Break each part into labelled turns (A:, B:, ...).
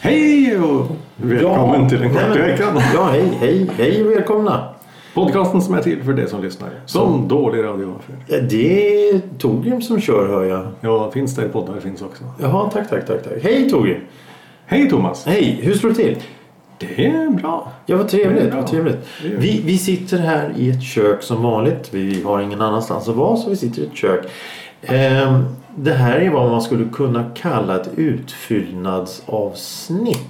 A: Hej och välkommen
B: Ja.
A: till den
B: Nej,
A: korta
B: men-
A: veckan.
B: Ja, hej, hej, hej och välkomna.
A: Podcasten som är till för dig som lyssnar. Som dålig radio för.
B: Ja, Eh, Det är Torgrim som kör hör jag.
A: Ja, finns där poddar finns också.
B: Jaha, tack, tack, tack, tack. Hej Torgrim.
A: Hej Thomas!
B: Hej, hur står det till?
A: Det är bra.
B: Ja, vad
A: Det är
B: trevligt,
A: bra.
B: vad trevligt.
A: Det är-
B: Vi, vi sitter här i ett kök som vanligt. Vi har ingen annanstans att vara så vi sitter i ett kök. Ehm, det här är vad man skulle kunna kalla ett utfyllnadsavsnitt.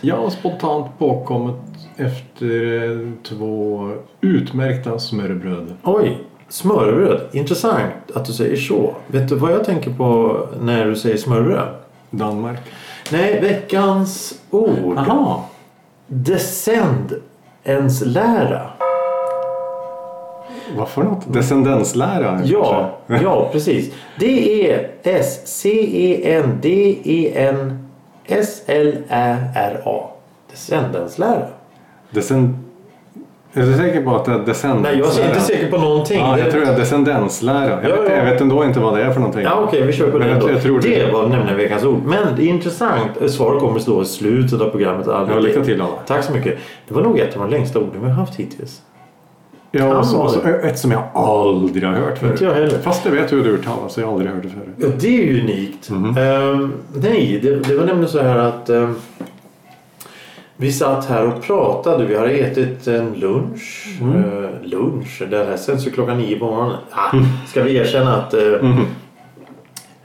A: Jag har spontant påkommit efter eh, två utmärkta smörrebröd.
B: Oj, smörbröd. Intressant att du säger så. Vet du vad jag tänker på när du säger smörbröd?
A: Danmark.
B: Nej, veckans ord.
A: Aha.
B: Descendens lära.
A: Vad för något? Descendenslära?
B: Ja, ja, precis. Det är S-C-E-N-D-E-N-S-L-Ä-R-A. Descendenslära.
A: kanske. Descend... Är du säker på att det är descendenslära?
B: Nej, jag är inte säker på någonting.
A: Ja,
B: Det-
A: jag tror det är descendenslära. Jag,
B: Ja,
A: vet,
B: ja.
A: jag vet ändå inte vad det är för någonting.
B: Ja, okej, vi kör på
A: Men
B: det
A: jag-
B: då.
A: jag tror det.
B: det var nämligen veckans ord. Men det är intressant. Svaret kommer stå i slutet av programmet.
A: Ja, lycka till, Anna.
B: Tack så mycket. Det var nog ett av de längsta orden vi har haft hittills.
A: Ja, och så,
B: Kan
A: och så,
B: vara
A: ett som jag aldrig har hört förut.
B: Inte jag heller.
A: Fast jag vet hur det uttalas, så jag har aldrig hört det förut.
B: Ja, det är ju unikt. Ehm, nej, det, det var nämligen så här att ehm, vi satt här och pratade. Vi hade ätit en lunch. Eh, lunch? Det här sänds ju klockan nio på morgonen. Ah, ska vi erkänna att eh,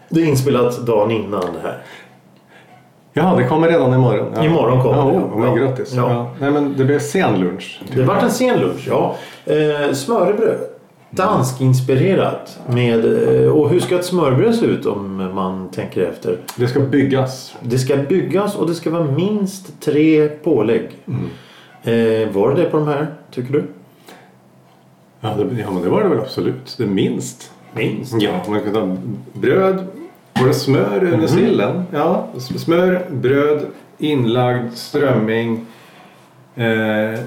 B: det är inspelat dagen innan det här.
A: Ja, det kommer redan imorgon. Ja.
B: Imorgon kommer
A: ja,
B: det.
A: oh, men
B: Ja.
A: Grattis.
B: Ja.
A: Ja. Nej, men det typ. blev sen lunch.
B: Det vart en sen lunch, ja. Eh, smörrebröd. Danskinspirerat. Med, eh, och hur ska ett smörrebröd se ut om man tänker efter?
A: Det ska byggas.
B: Det ska byggas och det ska vara minst tre pålägg. Eh, var det det på de här, tycker du?
A: Ja, det, ja, men det var det väl absolut. Det minst.
B: Minst?
A: Ja, man kan ta bröd. Var det smör under
B: Mhm.
A: sillen? Ja, s- smör, bröd, inlagd strömming. Eh,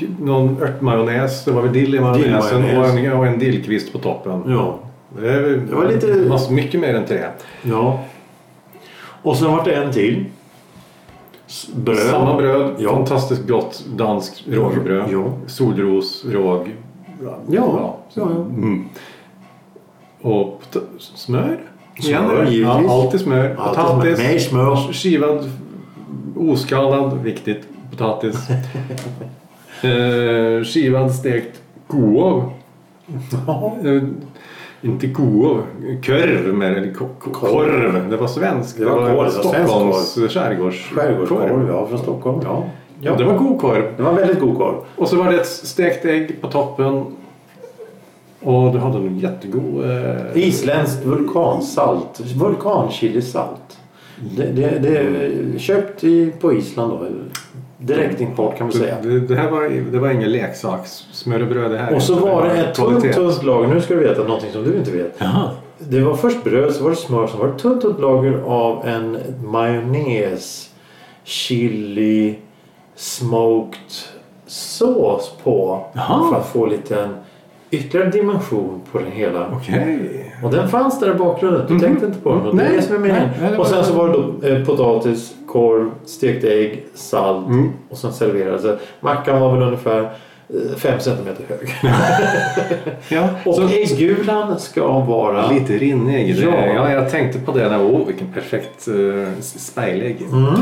A: k- någon örtmajonnäs. Det var väl dill i majonnäsen och en,
B: Dillmajonnäs.
A: och en dillkvist på toppen.
B: Ja.
A: Det, är, väl-
B: Det var lite-
A: mass- mycket mer än tre.
B: ja. Och sen vart det en till. S- Bröd.
A: Samma bröd,
B: Ja.
A: fantastiskt gott danskt rågbröd.
B: Ja.
A: Solros, råg.
B: Ja, ja, ja.
A: Mm. Och pot- smör?
B: Smör,
A: Igen.
B: givetvis.
A: Ja, alltid smör.
B: Alltid smör. Nej, smör.
A: Skivad, oskallad, viktigt, potatis. eh, skivad stekt koov. Eh, inte koov, körv med eller ko- ko- korv. Det var svenskt.
B: Det var korv, det var svensk korv.
A: Stockholms skärgårds-
B: Skärgårdskorv, ja, från Stockholm. Ja.
A: Ja. Det var god korv.
B: det var väldigt god korv.
A: Och så var det ett stekt ägg på toppen. Och du hade en jättegod... Eh,
B: Isländskt vulkansalt. Vulkanchilisalt. Det, det, det är köpt i, på Island då. Direktimport kan vi säga.
A: det, det här var, det var ingen leksakssmörrebröd det här.
B: Och så var det ett
A: Kvalitet.
B: tunt, tunt lager. Nu ska du veta någonting som du inte vet.
A: Jaha.
B: Det var först bröd, så var det smör, så var det ett tunt, tunt lager av en majonnäs, chili, smoked sås på.
A: Jaha.
B: För att få lite en ytterligare dimension på det hela.
A: Okej. Mhm.
B: Och den fanns där i bakgrunden. Du tänkte inte på den. och Det är
A: Nej,
B: det som är meningen.
A: nej, nej,
B: Och sen så var det då eh, potatis, korv, stekt ägg, salt
A: Mm.
B: och sen serverades det. Mackan var väl ungefär 5 centimeter hög.
A: Ja,
B: Och
A: så,
B: äggulan ska vara...
A: lite rinnig. i det.
B: Ja.
A: ja, jag tänkte på det. Där. Oh, vilken perfekt uh, spejlägg. Mm.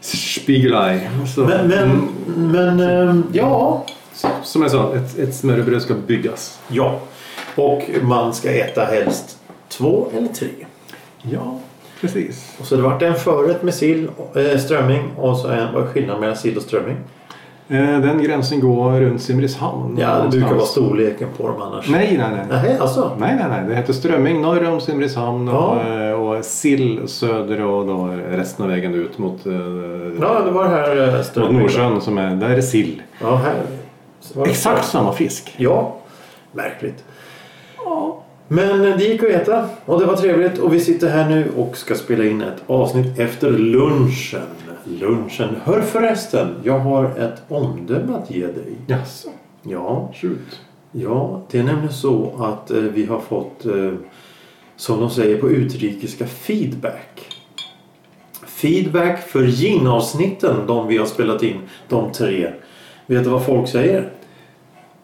A: Spiegelei. Så, mm.
B: Men, men, men ehm, ja.
A: Som jag sa, ett, ett smörrebröd ska byggas.
B: ja. Och man ska äta helst två eller tre.
A: Ja, precis.
B: Och så det vart en förrätt med sill, eh, strömming och så en, vad är skillnaden mellan sill och strömming?
A: Eh, den gränsen går runt Simrishamn.
B: Ja, det brukar
A: någonstans.
B: vara storleken på dem annars.
A: Nej, nej, nej.
B: Nähä, alltså?
A: Nej, nej, nej. Det heter strömming norr om Simrishamn
B: Ja.
A: och, eh, och sill söder och då resten av vägen ut mot, eh,
B: Ja, det var det här eh,
A: mot
B: strömming.
A: Nordsjön. Som är, där är sill.
B: Ja, här. Så var det-
A: Exakt samma fisk.
B: Ja, märkligt. Men eh, det gick att äta och det var trevligt och vi sitter här nu och ska spela in ett avsnitt efter lunchen. Lunchen. Hör förresten, jag har ett omdöme att ge dig.
A: Jaså?
B: Ja,
A: Shoot.
B: ja det är nämligen så att eh, vi har fått, eh, som de säger på utrikiska, feedback. Feedback för gin-avsnitten, de vi har spelat in, de tre. Vet du vad folk säger?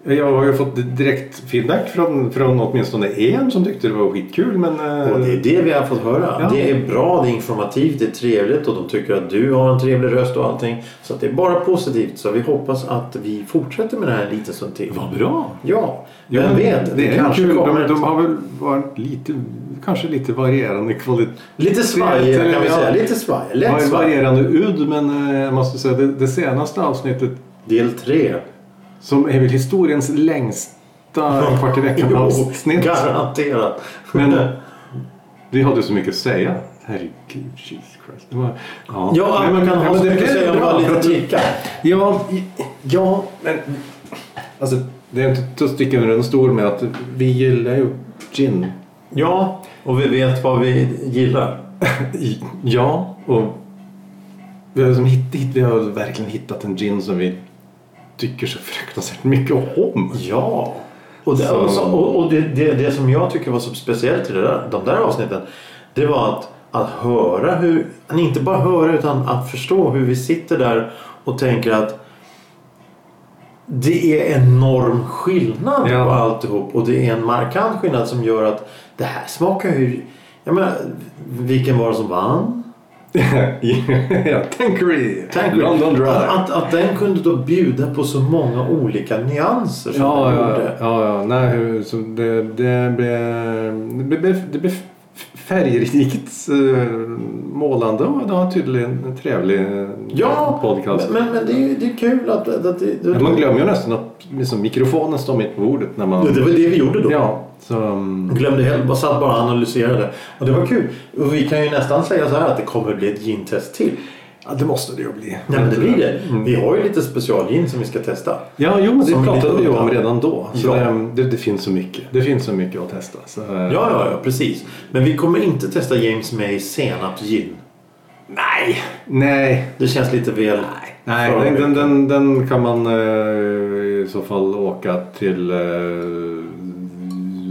A: Jag har ju fått direkt feedback från, från åtminstone en som tyckte det var skitkul men... eh,
B: Och det är det vi har fått höra.
A: Ja.
B: Det är bra, det är informativt, det är trevligt och de tycker att du har en trevlig röst och allting. Så att det är bara positivt. Så vi hoppas att vi fortsätter med det här en liten stund till.
A: Vad bra!
B: Ja,
A: Jo,
B: vem vet?
A: Det, är
B: kanske
A: kul.
B: kommer
A: De,
B: ett-
A: de har väl varit lite, kanske lite varierande kvalitet.
B: Lite svajiga kan vi
A: Ja.
B: säga. Lite svajiga.
A: Det har
B: Lätt
A: ju
B: svajiga.
A: varierande ud men eh, jag måste säga det, det senaste avsnittet
B: Del tre.
A: som är väl historiens längsta en kvart i veckan
B: Jo,
A: avsnitt.
B: Garanterat.
A: Men vi hade så mycket att säga. Herregud, Jesus Christ. Det var,
B: Ja,
A: Nej,
B: man kan
A: ja,
B: ha så
A: det
B: mycket att
A: blev
B: säga om
A: bra,
B: bara
A: för
B: lite
A: att-
B: dricka.
A: Ja, i- ja, men alltså, det är inte att sticka under en stol med att vi gillar ju gin.
B: Ja, och vi vet vad vi gillar.
A: I- Ja, och vi har, liksom hitt, hitt, vi har verkligen hittat en gin som vi tycker så fruktansvärt mycket om.
B: Ja. Och, det,
A: Så-
B: och, så- och, och det, det, det som jag tycker var så speciellt i det där, de där avsnitten. Det var att, att höra hur, inte bara höra utan att förstå hur vi sitter där och tänker att det är enorm skillnad
A: Ja.
B: på alltihop och det är en markant skillnad som gör att det här smakar ju... Jag menar, vilken var det som vann?
A: ja, Tanqueray.
B: Tank
A: London Dry.
B: Att, att, att den kunde då bjuda på så många olika nyanser som
A: Ja,
B: den
A: ja,
B: gjorde.
A: ja, ja. Nej, hur- så det, det blev det blev- det blev färgrikt eh, målande och det var tydligen en trevlig eh,
B: Ja,
A: podcast.
B: men, men, men det, är, det är kul att... att, att det, det,
A: Men man glömmer ju nästan att liksom, mikrofonen står mitt på bordet när man...
B: det, det var det vi gjorde då.
A: Ja, så... mm,
B: Glömde helt, bara satt bara och analyserade. Och det var kul. Och vi kan ju nästan säga så här att det kommer bli ett gintest till.
A: Ja, det måste det ju bli.
B: Nej men det blir det.
A: Mm.
B: Vi har ju lite specialgin som vi ska testa.
A: Ja, jo, men det
B: Som
A: pratade
B: lite
A: vi ju om
B: udda.
A: redan då. Så
B: Ja.
A: det, det, det finns så mycket. Det finns så mycket att testa. Så,
B: Ja, ja, ja, precis. Men vi kommer inte testa James May senapsgin.
A: Nej! Nej,
B: Det känns lite väl...
A: Nej,
B: för-
A: den, den, den, den kan man eh, i så fall åka till eh,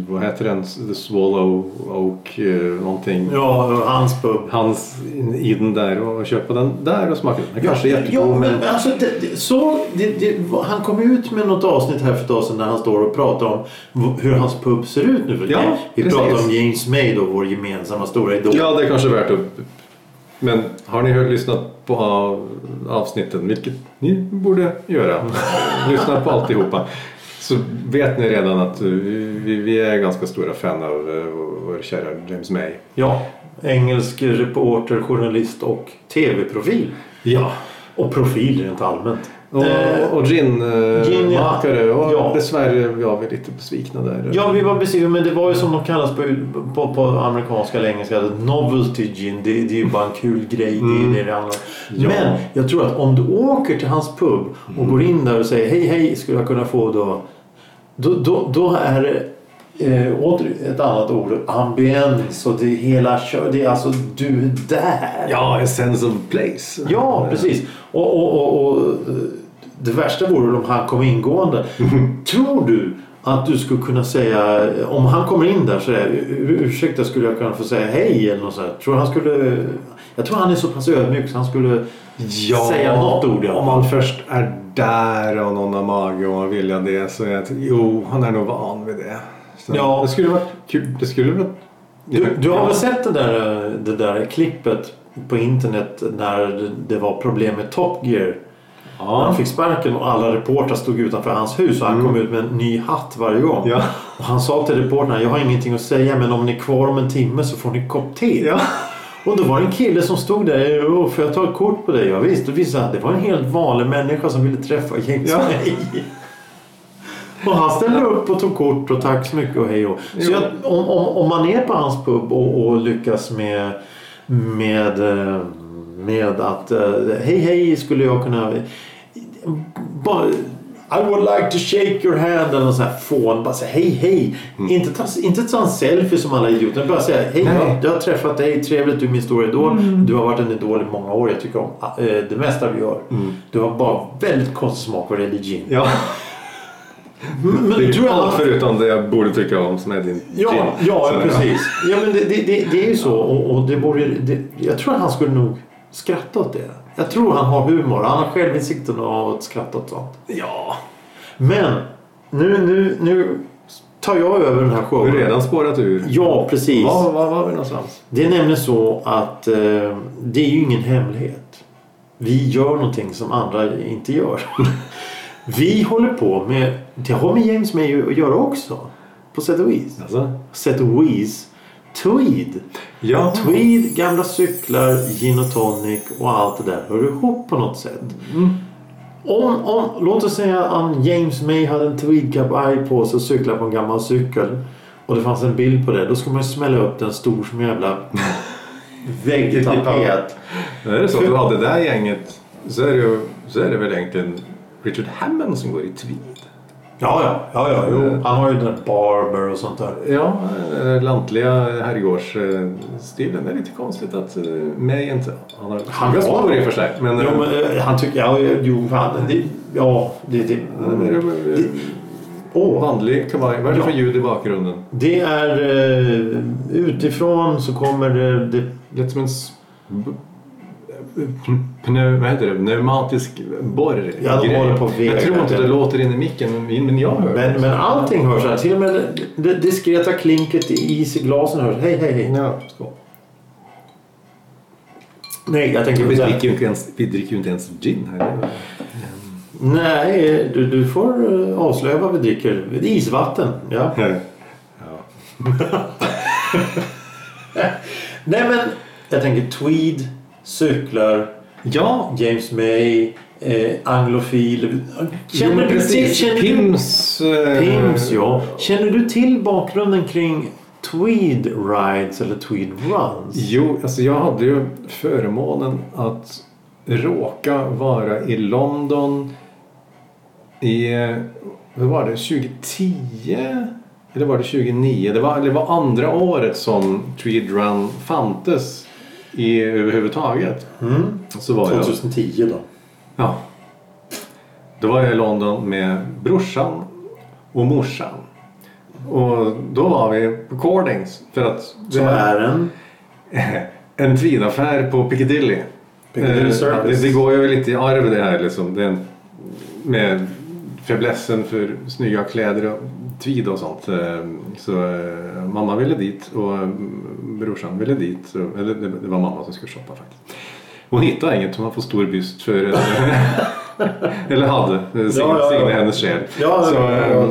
A: vad heter den? The Swallow Oak eh, någonting.
B: Ja, hans pub.
A: Hans in- i den där och köpa den där och smaka den. Den kanske är jättegod
B: ja,
A: men...
B: men alltså, det, det, så, det, det, han kom ut med något avsnitt här för ett tag sedan när han står och pratar om v- hur hans pub ser ut nu
A: Ja,
B: för tiden. Vi
A: precis.
B: pratar om James May då, vår gemensamma stora idol.
A: Ja, det är kanske värt att... Men har ni hört- lyssnat på av- avsnitten, vilket ni borde göra, lyssna på alltihopa, så vet ni redan att eh, vi, vi är ganska stora fan av eh, vår kära James May.
B: Ja, engelsk reporter, journalist och tv-profil.
A: Ja.
B: Och profil rent allmänt.
A: Och,
B: Eh,
A: och
B: gin, ja.
A: ginmakare. och
B: Ja.
A: dessvärre var vi lite besvikna där.
B: Ja, vi var besvikna, men det var ju som de kallas på, på, på amerikanska eller engelska. Novelty gin, det, det är ju bara en kul grej. Det är det det handlar om.
A: Ja.
B: Men jag tror att om du åker till hans pub och går in där och säger hej, hej, skulle jag kunna få då? Då, då, då är det eh, åter ett annat ord. Ambiens och det är hela kör, Det är alltså du är där.
A: ja, a sense of place.
B: Ja, precis. Och, och, och, och eh, det värsta vore om han kom ingående. Tror du att du skulle kunna säga, om han kommer in där så är ursäkta skulle jag kunna få säga hej eller något sånt. här? Tror du han skulle, jag tror han är så pass ödmjuk så han skulle
A: Ja,
B: säga något ord.
A: Om
B: Ja.
A: man först är där och någon har mage och man vill jag det så är det, jo, han är nog van vid det. Så
B: Ja.
A: Det skulle vara kul. Det skulle vara...
B: Du, du har väl sett det där, eh, det där klippet på internet när det- det var problem med Top Gear? När
A: Ja. Mm.
B: Han fick sparken och alla reportrar stod utanför hans hus och han kom ut med en ny hatt varje gång.
A: Ja.
B: Och han sa till reportrarna, jag har ingenting att säga men om ni är kvar om en timme så får ni en kopp te.
A: ja.
B: Och då var det en kille som stod där, "Åh, får jag ta ett kort på dig? Ja, visst, och visade att det var en helt vanlig människa som ville träffa James
A: Ja.
B: May. Och han ställde upp och tog kort och tack så mycket och hej och. Så
A: Jo.
B: jag, om, om, om man är på hans pub och, och lyckas med, med, eh, med att eh, hej hej skulle jag kunna... Bara, I would like to shake your hand eller någon sån här fån. Bara säga hej hej. Inte, ta, inte ta en selfie som alla idioter. Bara säga hej
A: Mm. Nej.
B: jag, jag har träffat dig. Trevligt du är min stora idol. Du har varit en idol i många år. Jag tycker om eh, det mesta vi gör.
A: Mm.
B: Du har bara väldigt konstig smak vad det gäller gin.
A: Ja.
B: Men, men
A: Det
B: tror
A: är
B: jag-
A: allt förutom det jag borde tycka om som är din gin.
B: Ja, ja
A: Så,
B: precis. Ja, men det, det, det, det är ju så. Och, och det borde, ju- det, jag tror att han skulle nog skratta åt det. Jag tror han har humor. Han har självinsikten av att skratta åt sånt.
A: Ja.
B: Men nu, nu, nu tar jag över den här
A: Du har
B: showen.
A: redan spårat ur.
B: Ja, precis.
A: Var, var var vi någonstans?
B: Det är nämligen så att eh, det är ju ingen hemlighet. Vi gör någonting som andra inte gör. Vi håller på med, det har med James May att göra också. På sätt och vis.
A: Alltså?
B: Sätt och vis. Tweed.
A: Ja.
B: Tweed, gamla cyklar, gin och tonic och allt det där hör ihop på något sätt. Om, om, låt oss säga att James May hade en tweedkavaj på sig och cyklade på en gammal cykel. Och det fanns en bild på det. Då skulle man ju smälla upp den stor som en jävla väggtapet.
A: Är det så att du har det där gänget så är det, ju, så är det väl egentligen Richard Hammond som går i tweed.
B: Ja, ja. ja, ja jo. Han har ju den där Barber och sånt där.
A: Ja, den där lantliga herrgårdsstilen. Det är lite konstigt att eh, mig inte... Han har stora spår i och för sig. Men,
B: jo, men eh, han tycker... Ja, jo, han, det, ja, det... det
A: eh, men, eh,
B: Åh,
A: Vanlig kavaj. Vad är det för
B: Ja.
A: ljud i bakgrunden?
B: Det är eh, utifrån så kommer det... det
A: Lät som en... s- b- Pneu, vad heter det? Pneumatisk borr.
B: Ja, de
A: grej.
B: håller på och
A: jag
B: vevar.
A: tror inte det låter in i micken, men men jag hör det.
B: men, men allting hörs här. Till och med det, det diskreta klinket i isglasen hörs. Hej, hej, hej.
A: Ja, skål.
B: Nej, jag tänker
A: Vi
B: på det.
A: dricker ju inte ens, vi dricker ju inte ens gin här.
B: Nej, du, du får eh, avslöja vad vi dricker. Det är Isvatten, ja. Nej, men jag tänker tweed, cyklar,
A: Ja,
B: James May, eh, anglofil.
A: jo, men
B: Känner du till... Känner du
A: Pims. eh,
B: Pims, ja. Känner du till bakgrunden kring Tweed Rides eller Tweed Runs?
A: Jo, alltså jag hade ju förmånen att råka vara i London i, eh, vad var det, 2010? Eller var det 2009? Det var, det var andra året som Tweed Run fantes i, överhuvudtaget.
B: Mm.
A: Så var jag
B: 2010 då.
A: Ja. Då var jag i London med brorsan och morsan. Och då var vi på Cordings för att det
B: Som
A: var
B: är en...
A: en tweedaffär på Piccadilly.
B: Piccadilly
A: Eh,
B: Circus.
A: Det, det går ju lite i arv det här liksom. Det är en- med fäblessen för snygga kläder och tweed och sånt. Eh, Så eh, mamma ville dit och eh, brorsan ville dit. Så- Eller det det var mamma som skulle shoppa faktiskt. Hon hittade inget, hon har fått stor byst för... eh, eller hade, eh, sign-
B: Ja, ja, ja.
A: signade hennes själ.
B: Ja,
A: Så,
B: ja,
A: eh,
B: ja,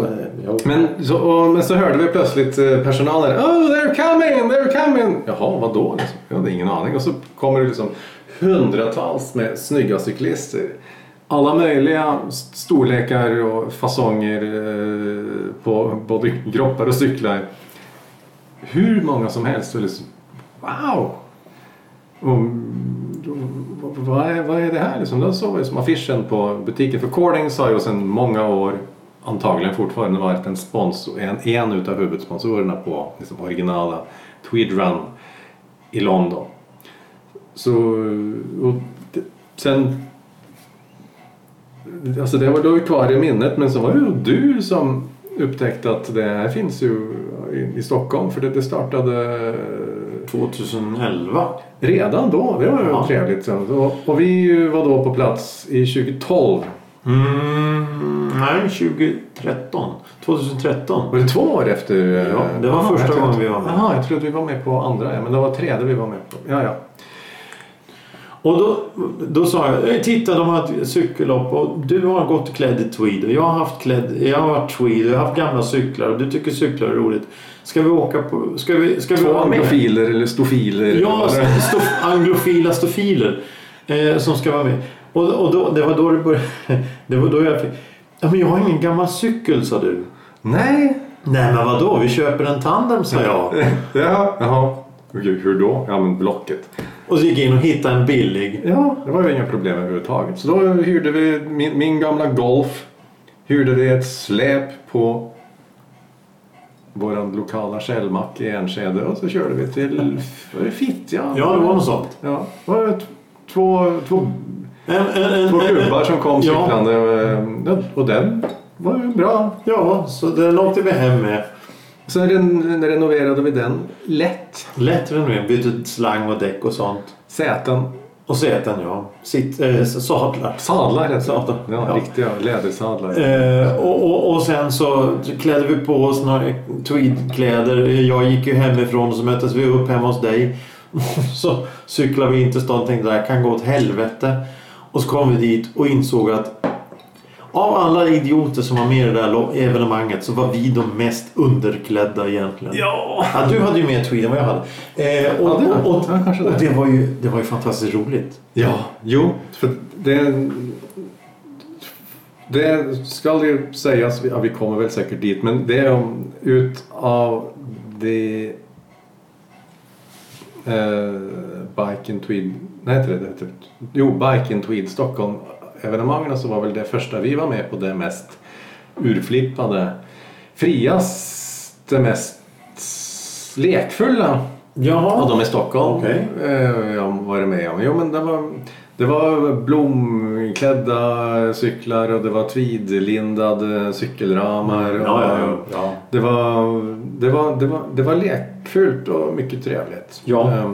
B: ja.
A: men så, och, men så hörde vi plötsligt eh, personalen. Oh, they're coming, they're coming. Jaha, vadå? Liksom. Jag hade ingen aning. Och så kommer det liksom hundratals med snygga cyklister. Alla möjliga st- storlekar och fasonger eh, på både kroppar och cyklar. Hur många som helst. Och liksom, wow! Och, och, vad, är, vad är det här liksom? Då såg vi som affischen på butiken. För Cordings har ju sedan många år antagligen fortfarande varit en sponsor, en, en utav huvudsponsorerna på liksom, originala Tweed Run i London. Så och det, sen Alltså det var då ju kvar i minnet men så var det ju du som upptäckte att det här finns ju i, i Stockholm för det, det startade
B: 2011.
A: Redan då, det var ju
B: Ja.
A: trevligt. Och, och vi var då på plats i 2012.
B: Mm, nej, 2013. 2013.
A: Var det två år efter?
B: Ja, det var första gången vi var med.
A: Jaha, jag trodde vi var med på andra. Ja, men det var tredje vi var med på. Ja, ja.
B: Och då, då sa jag, "Eh, titta de har ett cykellopp och du har gått klädd i tweed och jag har haft klädd, jag har varit tweed och jag har haft gamla cyklar och du tycker cyklar är roligt. Ska vi åka på, ska vi, ska vi
A: Två
B: vara med?
A: anglofiler eller stofiler.
B: Ja,
A: Eller-
B: stof, anglofila stofiler eh, som ska vara med. Och, och då, det var då det började. Det var då jag fick, ja, men jag har ingen gammal cykel sa du.
A: Nej.
B: Nej men vadå, vi köper en tandem sa jag.
A: Ja, jaha. Okej, hur då? Ja, men Blocket.
B: Och så gick jag in och hittade en billig.
A: Ja, det var ju inga problem överhuvudtaget. Så då hyrde vi min, min gamla Golf. hyrde vi ett släp på vår lokala källmack i Enskede och så körde vi till var det Fittja.
B: Ja, det var något sånt.
A: Ja, det var ett- två, två,
B: En, en, en,
A: två
B: en-
A: gubbar som kom
B: Ja.
A: cyklande och, eh, och den var ju bra.
B: Ja, så den åkte vi hem med.
A: Sen ren- renoverade vi den lätt.
B: Lätt renoverad, bytte slang och däck och sånt.
A: Säten,
B: Och säten, ja. Sitt, eh, sadlar.
A: sadlar rätt
B: Sadlar,
A: sagt. Ja,
B: ja.
A: riktiga lädersadlar.
B: Eh, och, och, och sen så klädde vi på oss några tweedkläder. Jag gick ju hemifrån och så möttes vi upp hemma hos dig. Och så cyklade vi in till stan och tänkte det här kan gå åt helvete. Och så kom vi dit och insåg att av alla idioter som var med i det där lo- evenemanget så var vi de mest underklädda egentligen.
A: Ja!
B: Ja, du hade ju mer tweed än vad jag hade. Eh,
A: Ja,
B: och,
A: det hade
B: och,
A: jag. Ja, kanske
B: och,
A: det.
B: och det, var ju, det var ju fantastiskt roligt.
A: Ja, jo, för det... Det ska ju sägas, ja, vi kommer väl säkert dit, men det är om utav det... Eh, Bike in Tweed... Nej, heter det, det heter, det. Jo, Bike in Tweed Stockholm evenemangen så var väl det första vi var med på det mest urflippade, friaste, mest lekfulla
B: Jaha.
A: och de i Stockholm
B: Okej.
A: eh, jag har varit med om. Jo, men det, var, det var blomklädda cyklar och det var tweedlindade cykelramar. Och
B: Ja, ja, ja, ja.
A: Det, var, det, var, det, var, det var lekfullt och mycket trevligt.
B: Ja.
A: Eh,
B: Och,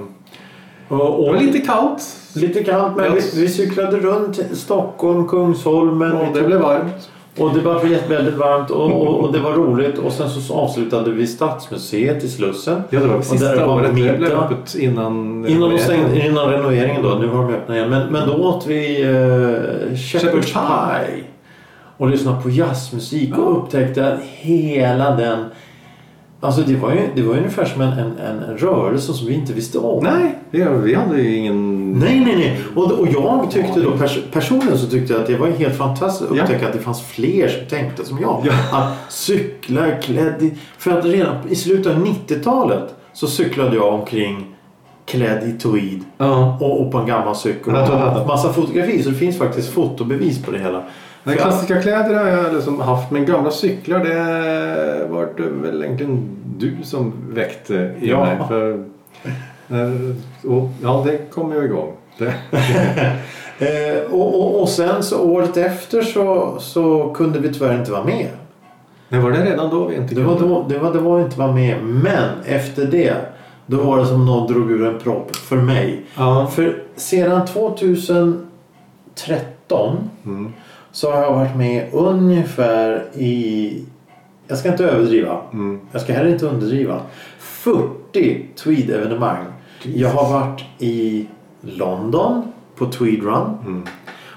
A: Det
B: och
A: var lite kallt
B: Lite kallt, men
A: Ja.
B: vi, vi cyklade runt Stockholm, Kungsholmen.
A: och
B: vi
A: det
B: tog-
A: blev varmt.
B: och det var jätte- väldigt varmt och, och, och det var roligt. Och sen så avslutade vi Stadsmuseet i Slussen.
A: Ja, det var
B: och där
A: sista
B: var
A: året det blev
B: middag.
A: öppet innan...
B: Innan, de stängde, innan renoveringen då. Nu har de öppnat igen. Men, men då åt vi eh, Shepherd's
A: Shepherd's
B: Pie. Och lyssnade på jazzmusik och upptäckte att hela den... Alltså det var ju, det var ju ungefär som en, en, en rörelse som vi inte visste om.
A: Nej, vi, vi hade ju ingen...
B: Nej, nej, nej. Och, och jag tyckte då pers personligen så tyckte jag att det var helt fantastiskt att
A: Ja.
B: upptäcka att det fanns fler som tänkte som jag.
A: Ja.
B: Att cykla klädd i... För att redan i slutet av 90-talet så cyklade jag omkring klädd i tweed
A: Ja.
B: och, och på en gammal cykel. Och tog massa fotografier så det finns faktiskt fotobevis på det hela.
A: Nej,
B: För jag-
A: klassiska kläder har jag liksom haft, men gamla cyklar det var det väl egentligen du som väckte i
B: Ja.
A: mig. För, eh, och, ja, det kom ju igång. Det,
B: Eh, och, och, och sen så året efter så, så kunde vi tyvärr inte vara med.
A: men var det redan då vi inte
B: Det var, då, det, var, det var inte vara med. Men efter det. Då var det som någon drog ur en propp för mig.
A: Ja.
B: För sedan 2013
A: Mm.
B: så har jag varit med ungefär i... Jag ska inte överdriva.
A: Mm.
B: Jag ska heller inte underdriva. 40 tweed-evenemang.
A: Jesus.
B: Jag har varit i London på Tweed Run.
A: Mm.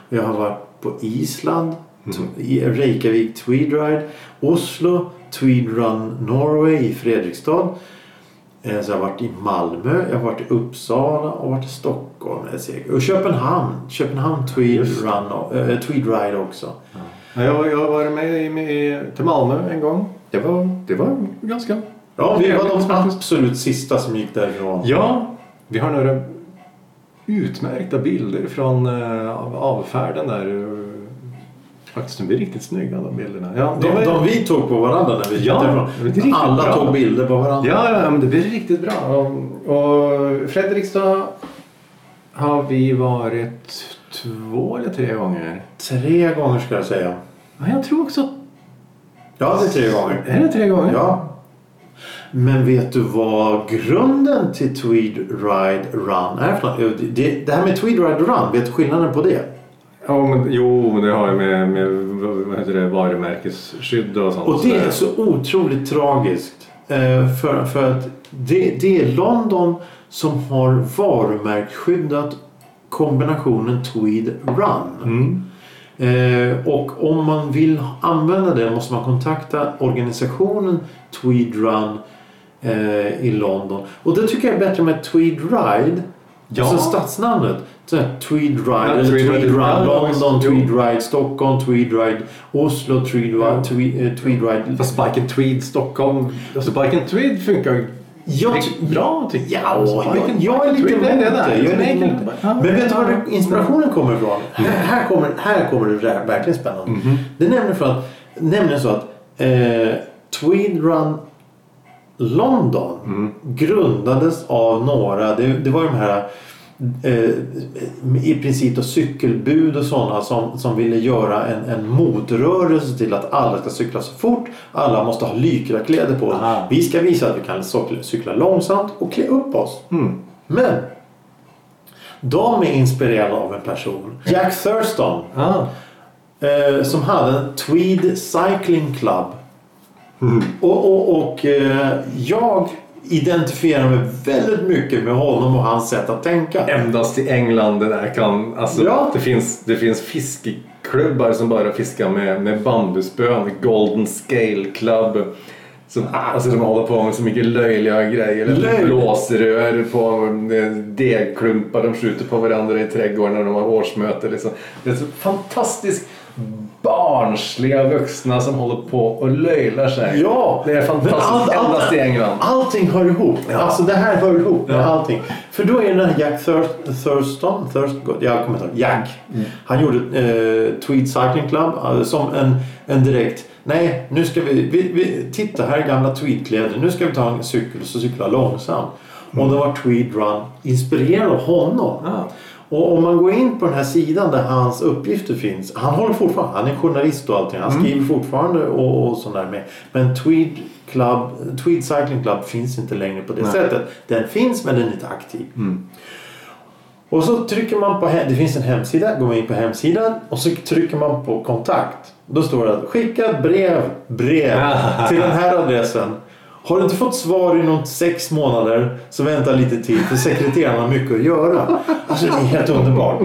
B: Jag har varit på Island, t- i Reykjavik Tweed Ride, Oslo, Tweed Run Norway i Fredrikstad. Eh, Så jag har varit i Malmö, jag har varit i Uppsala och varit i Stockholm. är jag säker. Och Köpenhamn, Köpenhamn Tweed, Run, och- eh, Tweed Ride också.
A: Ja, jag, jag var med i, i, till Malmö en gång. Det var, det var ganska...
B: Ja, vi var de
A: Faktiskt.
B: absolut sista som gick därifrån.
A: Ja, vi har några utmärkta bilder från eh, av- avfärden där. Faktiskt, de blir riktigt snygga de bilderna. Ja, det var-
B: De, de vi tog på varandra när vi gick
A: Ja, det är
B: därifrån.
A: riktigt
B: Alla
A: bra.
B: tog bilder på varandra.
A: Ja, ja, ja, men det blir riktigt bra. Och- Och Fredrikstad har vi varit två eller tre gånger.
B: Tre gånger ska jag säga.
A: Ja, jag tror också...
B: Ja, det är tre gånger.
A: Är det tre gånger?
B: Ja. Men vet du vad grunden till Tweed Ride Run är för något? Det- det, det här med Tweed Ride Run, vet du skillnaden på det?
A: Ja, men, jo, men det har ju med, med vad heter det, varumärkesskydd och sånt.
B: Och det är så otroligt tragiskt. eh, För, för att det, det är London som har varumärkesskyddat kombinationen Tweed Run.
A: Mm.
B: Eh, och om man vill använda det måste man kontakta organisationen Tweed Run eh, i London. Och det tycker jag är bättre med Tweed Ride.
A: Ja.
B: Alltså stadsnamnet. Så här, Tweed Ride,
A: Ja,
B: eller
A: Tweed
B: Tweed,
A: Ride.
B: Run
A: Ja,
B: London,
A: visst. Jo.
B: Tweed Ride Stockholm, Tweed Ride Oslo, Tweed Ride,
A: Ja.
B: Tweed, eh, Tweed Ride
A: Fast Bike and Tweed Stockholm... Alltså Bike and Tweed funkar ju
B: Jag ty-
A: riktigt bra tycker
B: Ja,
A: jag. Alltså, Bike
B: jag,
A: and-
B: jag är
A: Bike and
B: lite
A: Tweed, det är
B: emot
A: det
B: det.
A: där.
B: Jag är lite
A: Nej,
B: emot det.
A: ja.
B: Men vet du var Mhm. inspirationen kommer ifrån? Här, här, kommer, här kommer det verkligen spännande. Det är nämligen för att nämligen så att eh, Tweed Run London
A: Mm.
B: grundades av några, det, det var de här eh, i princip då cykelbud och sådana som, som ville göra en, en motrörelse till att alla ska cykla så fort. Alla måste ha lycrakläder på sig.
A: Aha.
B: Vi ska visa att vi kan cykla- cykla långsamt och klä upp oss.
A: Mm.
B: Men de är inspirerade av en person, Jack Thurston,
A: Ah.
B: eh, som hade en Tweed Cycling Club. Och, och, och eh, jag identifierar mig väldigt mycket med honom och hans sätt att tänka.
A: Endast i England det där kan... Alltså,
B: Ja.
A: det, finns, det finns fiskeklubbar som bara fiskar med, med bambuspön. Golden Scale Club. Som,
B: Ah.
A: alltså, de håller på med så mycket löjliga grejer.
B: Löjligt.
A: Blåsrör på eh, degklumpar. De skjuter på varandra i trädgården när de har årsmöte. Liksom. Det är så fantastiskt barnsliga vuxna som håller på och löjlar sig.
B: Ja,
A: Det är fantastiskt.
B: Men
A: Endast i England.
B: Allting hör ihop. Alltså det här hör ihop med
A: Ja.
B: allting. För då är det den här Jack Thurs- Thurston, Thurston, jag kommer inte ihåg, Jack.
A: Mm.
B: Han gjorde eh, Tweed Cycling Club eh, som en, en direkt, nej nu ska vi, vi, vi, titta här är gamla tweedkläder, nu ska vi ta en cykel och så cykla långsamt. Och då var Tweed Run inspirerad av honom.
A: Ja.
B: Och om man går in på den här sidan där hans uppgifter finns. Han håller fortfarande, han är journalist och allting. Han skriver fortfarande och, och sånt där med. Men Tweed, Club, Tweed Cycling Club finns inte längre på det
A: Nej.
B: sättet. Den finns men den är inte aktiv. Och så trycker man på, he- det finns en hemsida, går man in på hemsidan och så trycker man på kontakt. Då står det att skicka ett brev, brev till den här adressen. Har du inte fått svar inom sex månader så vänta lite till för sekreteraren har mycket att göra. Alltså det är helt underbart.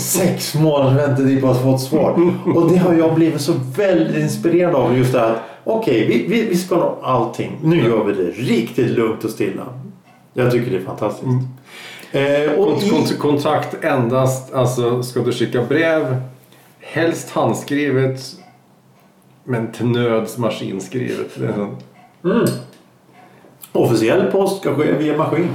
B: Sex månader väntetid på att få ett svar. Och det har jag blivit så väldigt inspirerad av just det här att okej vi, vi, vi ska nå allting. Nu gör vi det riktigt lugnt och stilla. Jag tycker det är fantastiskt. Eh, och
A: Kont-
B: i-
A: kont- kontrakt endast, alltså ska du skicka brev, helst handskrivet, men till nöds maskinskrivet. Det är en-
B: Officiell post ska ske via maskin.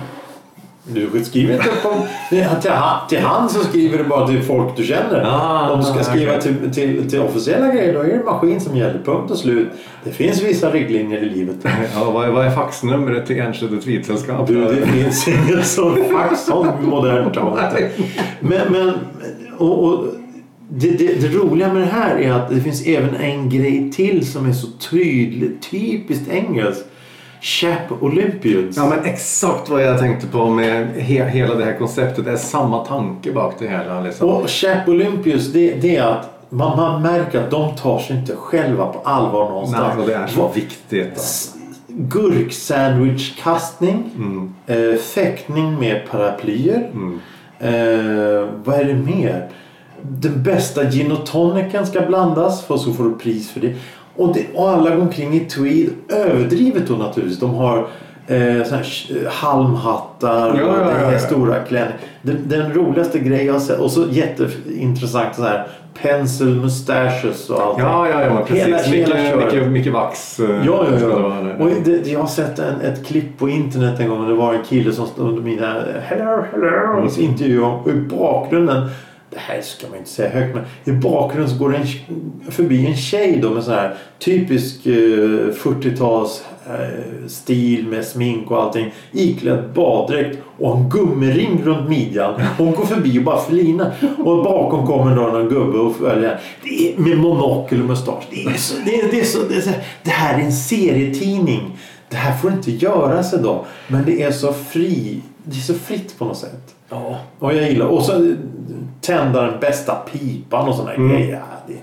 B: Du skriver inte på... Det är Till, ha- till hand så skriver du bara till folk du känner.
A: Ah,
B: Om du ska
A: okej.
B: skriva till, till, till officiella grejer då är det maskin som gäller. Punkt och slut. Det finns vissa riktlinjer i livet.
A: Ja, vad, är, vad är faxnumret till Enskede Tweedsällskap?
B: Du, det finns inget som fax som modernt tal. Men, men och, och, det, det, det roliga med det här är att det finns även en grej till som är så tydlig, typiskt engelsk. Chap Olympians.
A: Ja, men exakt vad jag tänkte på med he, hela det här konceptet. Det är samma tanke bak det hela. Liksom.
B: Och Chap Olympius, det, det är att man, man märker att de tar sig inte själva på allvar
A: Nej,
B: någonstans.
A: alltså, det är så
B: Vad-
A: viktigt. Alltså.
B: s- Gurksandwichkastning.
A: Mm.
B: Eh, fäktning med paraplyer. Eh, vad är det mer? Den bästa gin och tonicen ska blandas för så får du pris för det. Och, det, och alla går omkring i tweed. Överdrivet då naturligtvis. De har eh, såna här sh- halmhattar
A: Ja,
B: och
A: ja,
B: den här
A: ja, ja.
B: stora klänningen. Den, den roligaste grejen jag har sett. Och så jätteintressant så här pencil mustaches och allt.
A: Ja, ja, ja, men precis.
B: Hela- hela
A: mycket,
B: köret.
A: mycket, mycket vax. eh,
B: Ja, ja,
A: ska det
B: ja.
A: vara där.
B: Och det, det- jag har sett en, ett klipp på internet en gång. och Det var en kille som stod under mina hello,
A: Mm.
B: hello och så intervjuade honom. Och i bakgrunden, det här ska man inte säga högt, men i bakgrunden så går det en, tj- förbi en tjej då med sån här typisk eh, 40-tals eh, stil med smink och allting. Iklädd baddräkt och en gummiring runt midjan. Hon går förbi och bara flinar. Och bakom kommer då någon gubbe och följer det är, med monokel och mustasch. Det, är så, det, är, det, är så, det, är så, det här är en serietidning. Det här får inte göras idag. Men det är så fri. Det är så fritt på något sätt.
A: Ja.
B: Och jag gillar. Och så tända den bästa pipan och sådana grejer. Ja, det,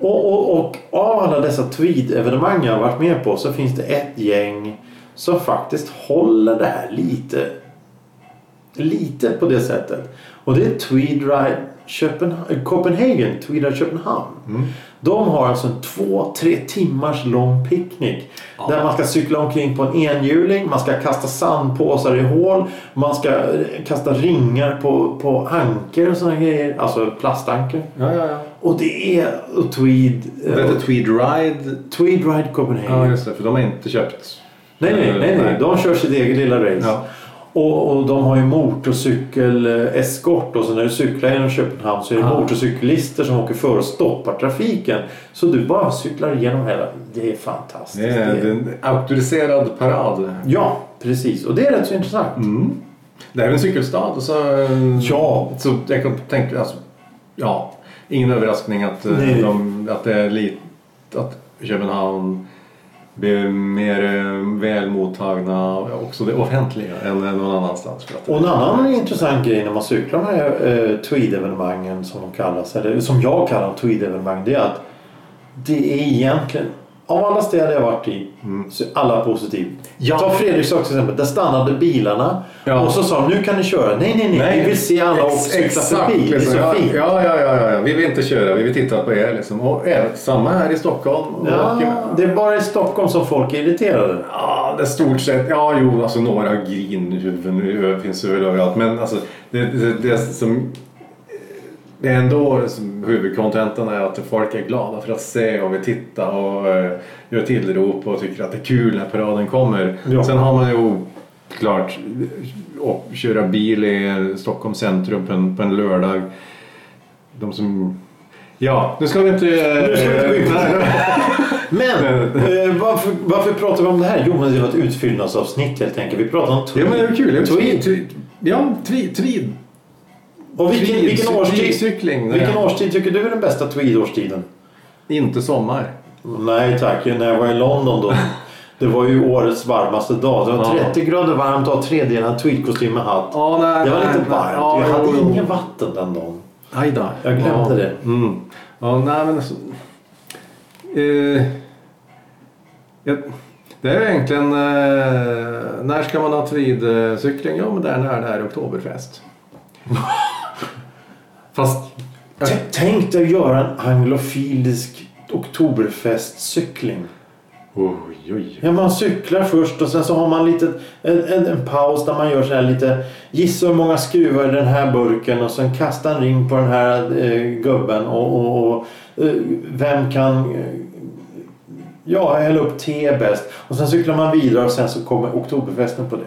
B: och, och, och av alla dessa tweed-evenemang jag har varit med på så finns det ett gäng som faktiskt håller det här lite. Lite på det sättet. Och det är Tweed Ride Köpenha- eh, Copenhagen, Tweed Ride Köpenhamn. De har alltså en två, tre timmars lång picknick. Där man ska cykla omkring på en enhjuling, man ska kasta sandpåsar i hål, man ska eh, kasta ringar på, på anker och sådana grejer. Alltså plastanker.
A: Ja, ja, ja.
B: Och det är och Tweed...
A: Det
B: eh,
A: heter Tweed Ride.
B: Tweed Ride Copenhagen.
A: Ja, just det. För de har inte köpt.
B: nej, nej, nej, nej. De kör sitt eget lilla race.
A: Ja.
B: Och, och de har ju motorcykeleskort och så när du cyklar genom Köpenhamn så är det
A: Ah.
B: motorcyklister som åker före och stoppar trafiken. Så du bara cyklar igenom hela. Det är fantastiskt.
A: Det är en auktoriserad parad.
B: Ja, precis. Och det är rätt så intressant.
A: Mm. Det här är en cykelstad. Så, eh,
B: Ja.
A: så jag kan tänka, alltså, ja, ingen överraskning att, eh,
B: Nej.
A: de, att, det är li, att Köpenhamn blir mer eh, väl mottagna också det offentliga än någon annanstans. För att,
B: Och en annan intressant grej när man cyklar de här eh, tweed-evenemangen som de kallas, eller som jag kallar dem, tweed-evenemang, det är att det är egentligen, av alla städer jag varit i, så är alla positivt.
A: Mm. Ja.
B: Ta Fredriksdag till exempel, där stannade bilarna
A: Ja.
B: och så sa de nu kan ni köra. Nej, nej, nej, vi vill se alla och
A: Ex-
B: cykla
A: exakt,
B: förbi. Det är
A: liksom.
B: så
A: Ja,
B: fint.
A: Ja, ja, ja, ja, vi vill inte köra, vi vill titta på er. Liksom. Och, eh, samma här i Stockholm. Och,
B: Ja, det är bara i Stockholm som folk är irriterade.
A: Ja, det är stort sett. Ja, jo, alltså några grinhuvuden finns det väl överallt. Men alltså, det, det, det som... Det är ändå som huvudkontenten är att folk är glada för att se och vill titta och eh, gör tillrop och tycker att det är kul när paraden kommer.
B: Ja.
A: Sen har man ju klart och köra bil i Stockholms centrum på en, på en lördag. De som... Ja, nu ska vi inte...
B: Nu ska vi inte gå in på det. Men eh, varför, varför pratar vi om det här? Jo, men det var ett utfyllnadsavsnitt helt enkelt. Vi pratar om
A: Ja,
B: tweed.
A: men det är kul.
B: tweed.
A: Tweed. Ja, tweed. tweed.
B: Och vilken, vilken,
A: Cy-
B: årstid,
A: Cykling, nej.
B: vilken årstid tycker du är den bästa tweed-årstiden?
A: Inte sommar.
B: Nej tack, när jag var i London då. Det var ju årets varmaste dag. Det var
A: Ja.
B: 30 grader varmt och tweeddelad tweedkostym med hatt.
A: Ja, nej,
B: Det var
A: nej,
B: lite
A: nej. Ja,
B: varmt. Jag hade
A: jo, jo.
B: inget vatten den dagen.
A: Aj då.
B: Jag glömde
A: ja.
B: det.
A: Mm. Ja, nej, men alltså, eh, jag, det är egentligen... Eh, när ska man ha tweedcykling? Ja, men där när det är Oktoberfest. Fast... Jag,
B: T- Tänk dig att göra en anglofilisk oktoberfestcykling.
A: oj, oj.
B: Ja, man cyklar först och sen så har man lite, en, en, en paus där man gör så här lite gissa hur många skruvar i den här burken och sen kasta en ring på den här eh, gubben och, och, och eh, vem kan eh, ja, hälla upp te bäst och sen cyklar man vidare och sen så kommer oktoberfesten på det.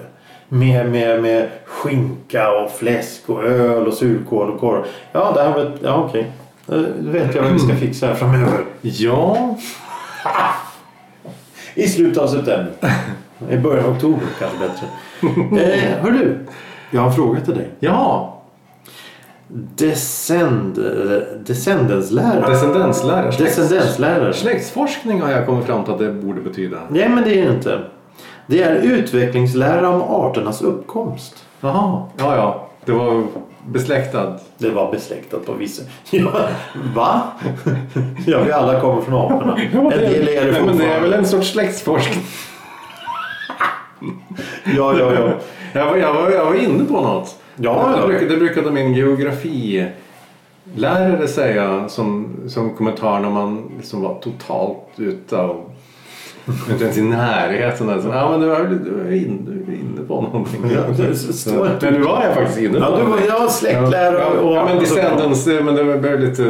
B: Med, med, med skinka och fläsk och öl och surkål och korv. Ja, det här var, ja okej. Eh, Då vet jag vad vi ska fixa här framöver.
A: Ja,
B: I slutet av september. I början av oktober kanske bättre. Eh, hör du, jag har en fråga till dig.
A: ja.
B: Descend, eh, descendenslära.
A: Descendenslära.
B: Descendenslära.
A: Släktsforskning har jag kommit fram till att det borde betyda.
B: Nej, men det är det inte. Det är utvecklingslära om arternas uppkomst.
A: Jaha, ja, ja. Det var besläktad.
B: Det var besläktat på vissa... Ja, va? Ja, vi alla kommer från aporna. En del är det
A: Nej, men det är väl
B: fortfarande.
A: en sorts släktforskning.
B: Ja, ja, ja.
A: Jag var, jag var, jag var inne på något.
B: Ja, ja.
A: det, brukade, det brukade min geografilärare säga som, som kommentar när man liksom var totalt utav inte ens i närheten. Alltså. Ja, men du var, du var inne, du var inne på någonting.
B: Ja, det står inte.
A: men nu var jag faktiskt inne på
B: Ja, du var
A: någonting.
B: ja, släktlära
A: Ja,
B: och...
A: ja, men alltså- descendens, men det blev lite...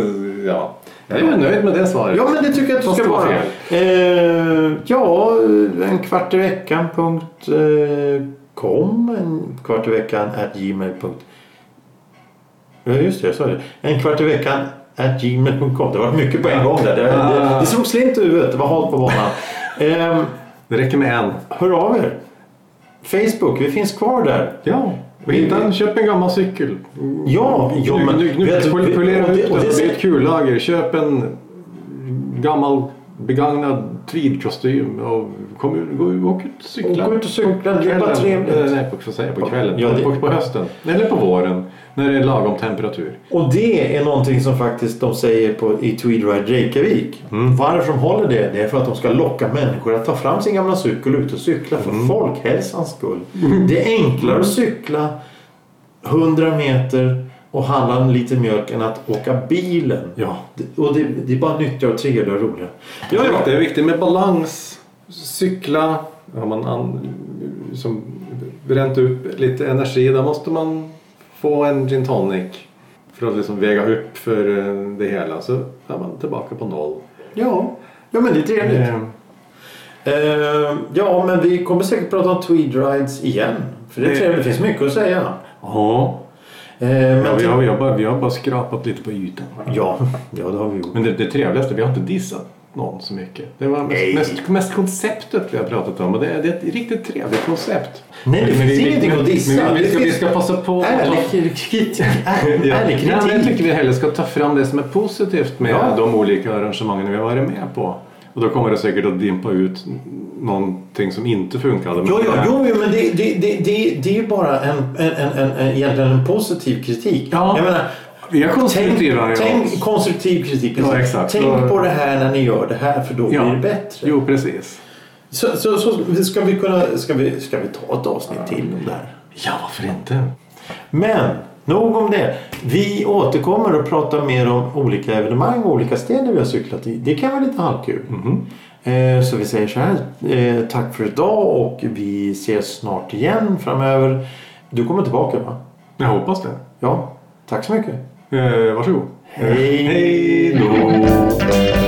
A: Ja. Jag är nöjd med det svaret.
B: Ja, men det tycker jag att du
A: Fast
B: ska
A: det var
B: vara. Eh, ja, en kvart i veckan punkt, eh, com, en kvart i veckan at gmail. punkt- Ja, just det, jag sa det. En kvart i veckan at gmail.com. Det var mycket på en gång där. Det,
A: Ah.
B: det, det slog slint i huvudet. Det var halt på banan. Eh,
A: Det räcker med en.
B: hör av er. Facebook, vi finns kvar där.
A: Ja. Och hitta en, köp en gammal cykel.
B: Ja, jo, men...
A: nu, nu,
B: vet du,
A: pol- polera
B: och det-
A: ut
B: och
A: den.
B: det-
A: Det är ett kullager. Köp en gammal begagnad tweedkostym och kom, ut- gå, ut- åk ut och cykla.
B: Och gå ut och cykla,
A: På
B: det är bara
A: kvällen.
B: trevligt.
A: Eh, Nej, på, får säga, på kvällen.
B: Ja, det-
A: på, på hösten. Eller på våren. När det är lagom temperatur.
B: Och det är någonting som faktiskt de säger på, i Tweedride Reykjavik. Mm. Varför de håller det? Det är för att de ska locka människor att ta fram sin gamla cykel och ut och cykla för
A: Mm.
B: folkhälsans skull. Det är enklare att cykla 100 meter och handla en liten mjölk än att åka bilen.
A: Ja.
B: Det- Och det, det är bara nyttigare och trevligare och roligare.
A: Ja,
B: Ja,
A: ja.
B: ja.
A: Det är viktigt med balans. Cykla. Har man an, som bränt upp lite energi, då måste man få en gin tonic för att liksom väga upp för eh, det hela. Så är man tillbaka på noll.
B: Ja. ja, men det är trevligt.
A: Eh,
B: Eh, ja, men vi kommer säkert prata om Tweed Rides igen. För det är
A: Det-
B: trevligt. Det finns mycket att säga.
A: Ja,
B: Eh,
A: ja
B: men
A: vi, har, vi, har bara, vi har bara skrapat lite på ytan.
B: ja, ja, det har vi gjort.
A: Men det, det trevligaste, vi har inte dissat någon så mycket. Det var
B: Nej.
A: mest, mest, mest konceptet vi har pratat om och det, är- det är ett riktigt trevligt koncept.
B: Nej, det
A: Men vi-
B: finns
A: vi-
B: ingenting
A: men-
B: att dissa.
A: men vi-
B: Det
A: Vi ska, vi
B: finns-
A: ska passa på att ta
B: Ärlig kritik. Ärlig
A: Ja. Nej, men jag
B: kritik.
A: tycker vi hellre ska ta fram det som är positivt med
B: Ja.
A: de olika arrangemangen vi har varit med på. Och då kommer det säkert att dimpa ut någonting som inte funkade.
B: Jo, jo, jo, jo, men det, det, det, det, det är ju bara en, en, en, en, en, egentligen en positiv kritik.
A: Ja.
B: Jag menar,
A: Vi är konstruktiva.
B: tänk,
A: ja.
B: tänk konstruktiv kritik. precis.
A: Ja, exakt.
B: Tänk
A: Då-
B: på det här när ni gör det här för då
A: Ja.
B: blir det bättre.
A: Jo, precis.
B: Så, så, så ska, vi kunna, ska, vi, ska vi ta ett avsnitt till om det här?
A: Ja, varför inte?
B: Men nog om det. Vi återkommer och pratar mer om olika evenemang och olika städer vi har cyklat i. Det kan vara lite halvkul. Eh, Så vi säger så här. eh, Tack för idag och vi ses snart igen framöver. Du kommer tillbaka va?
A: Jag hoppas det.
B: Ja. Tack så mycket.
A: Eh, varsågod.
B: Hej
A: då.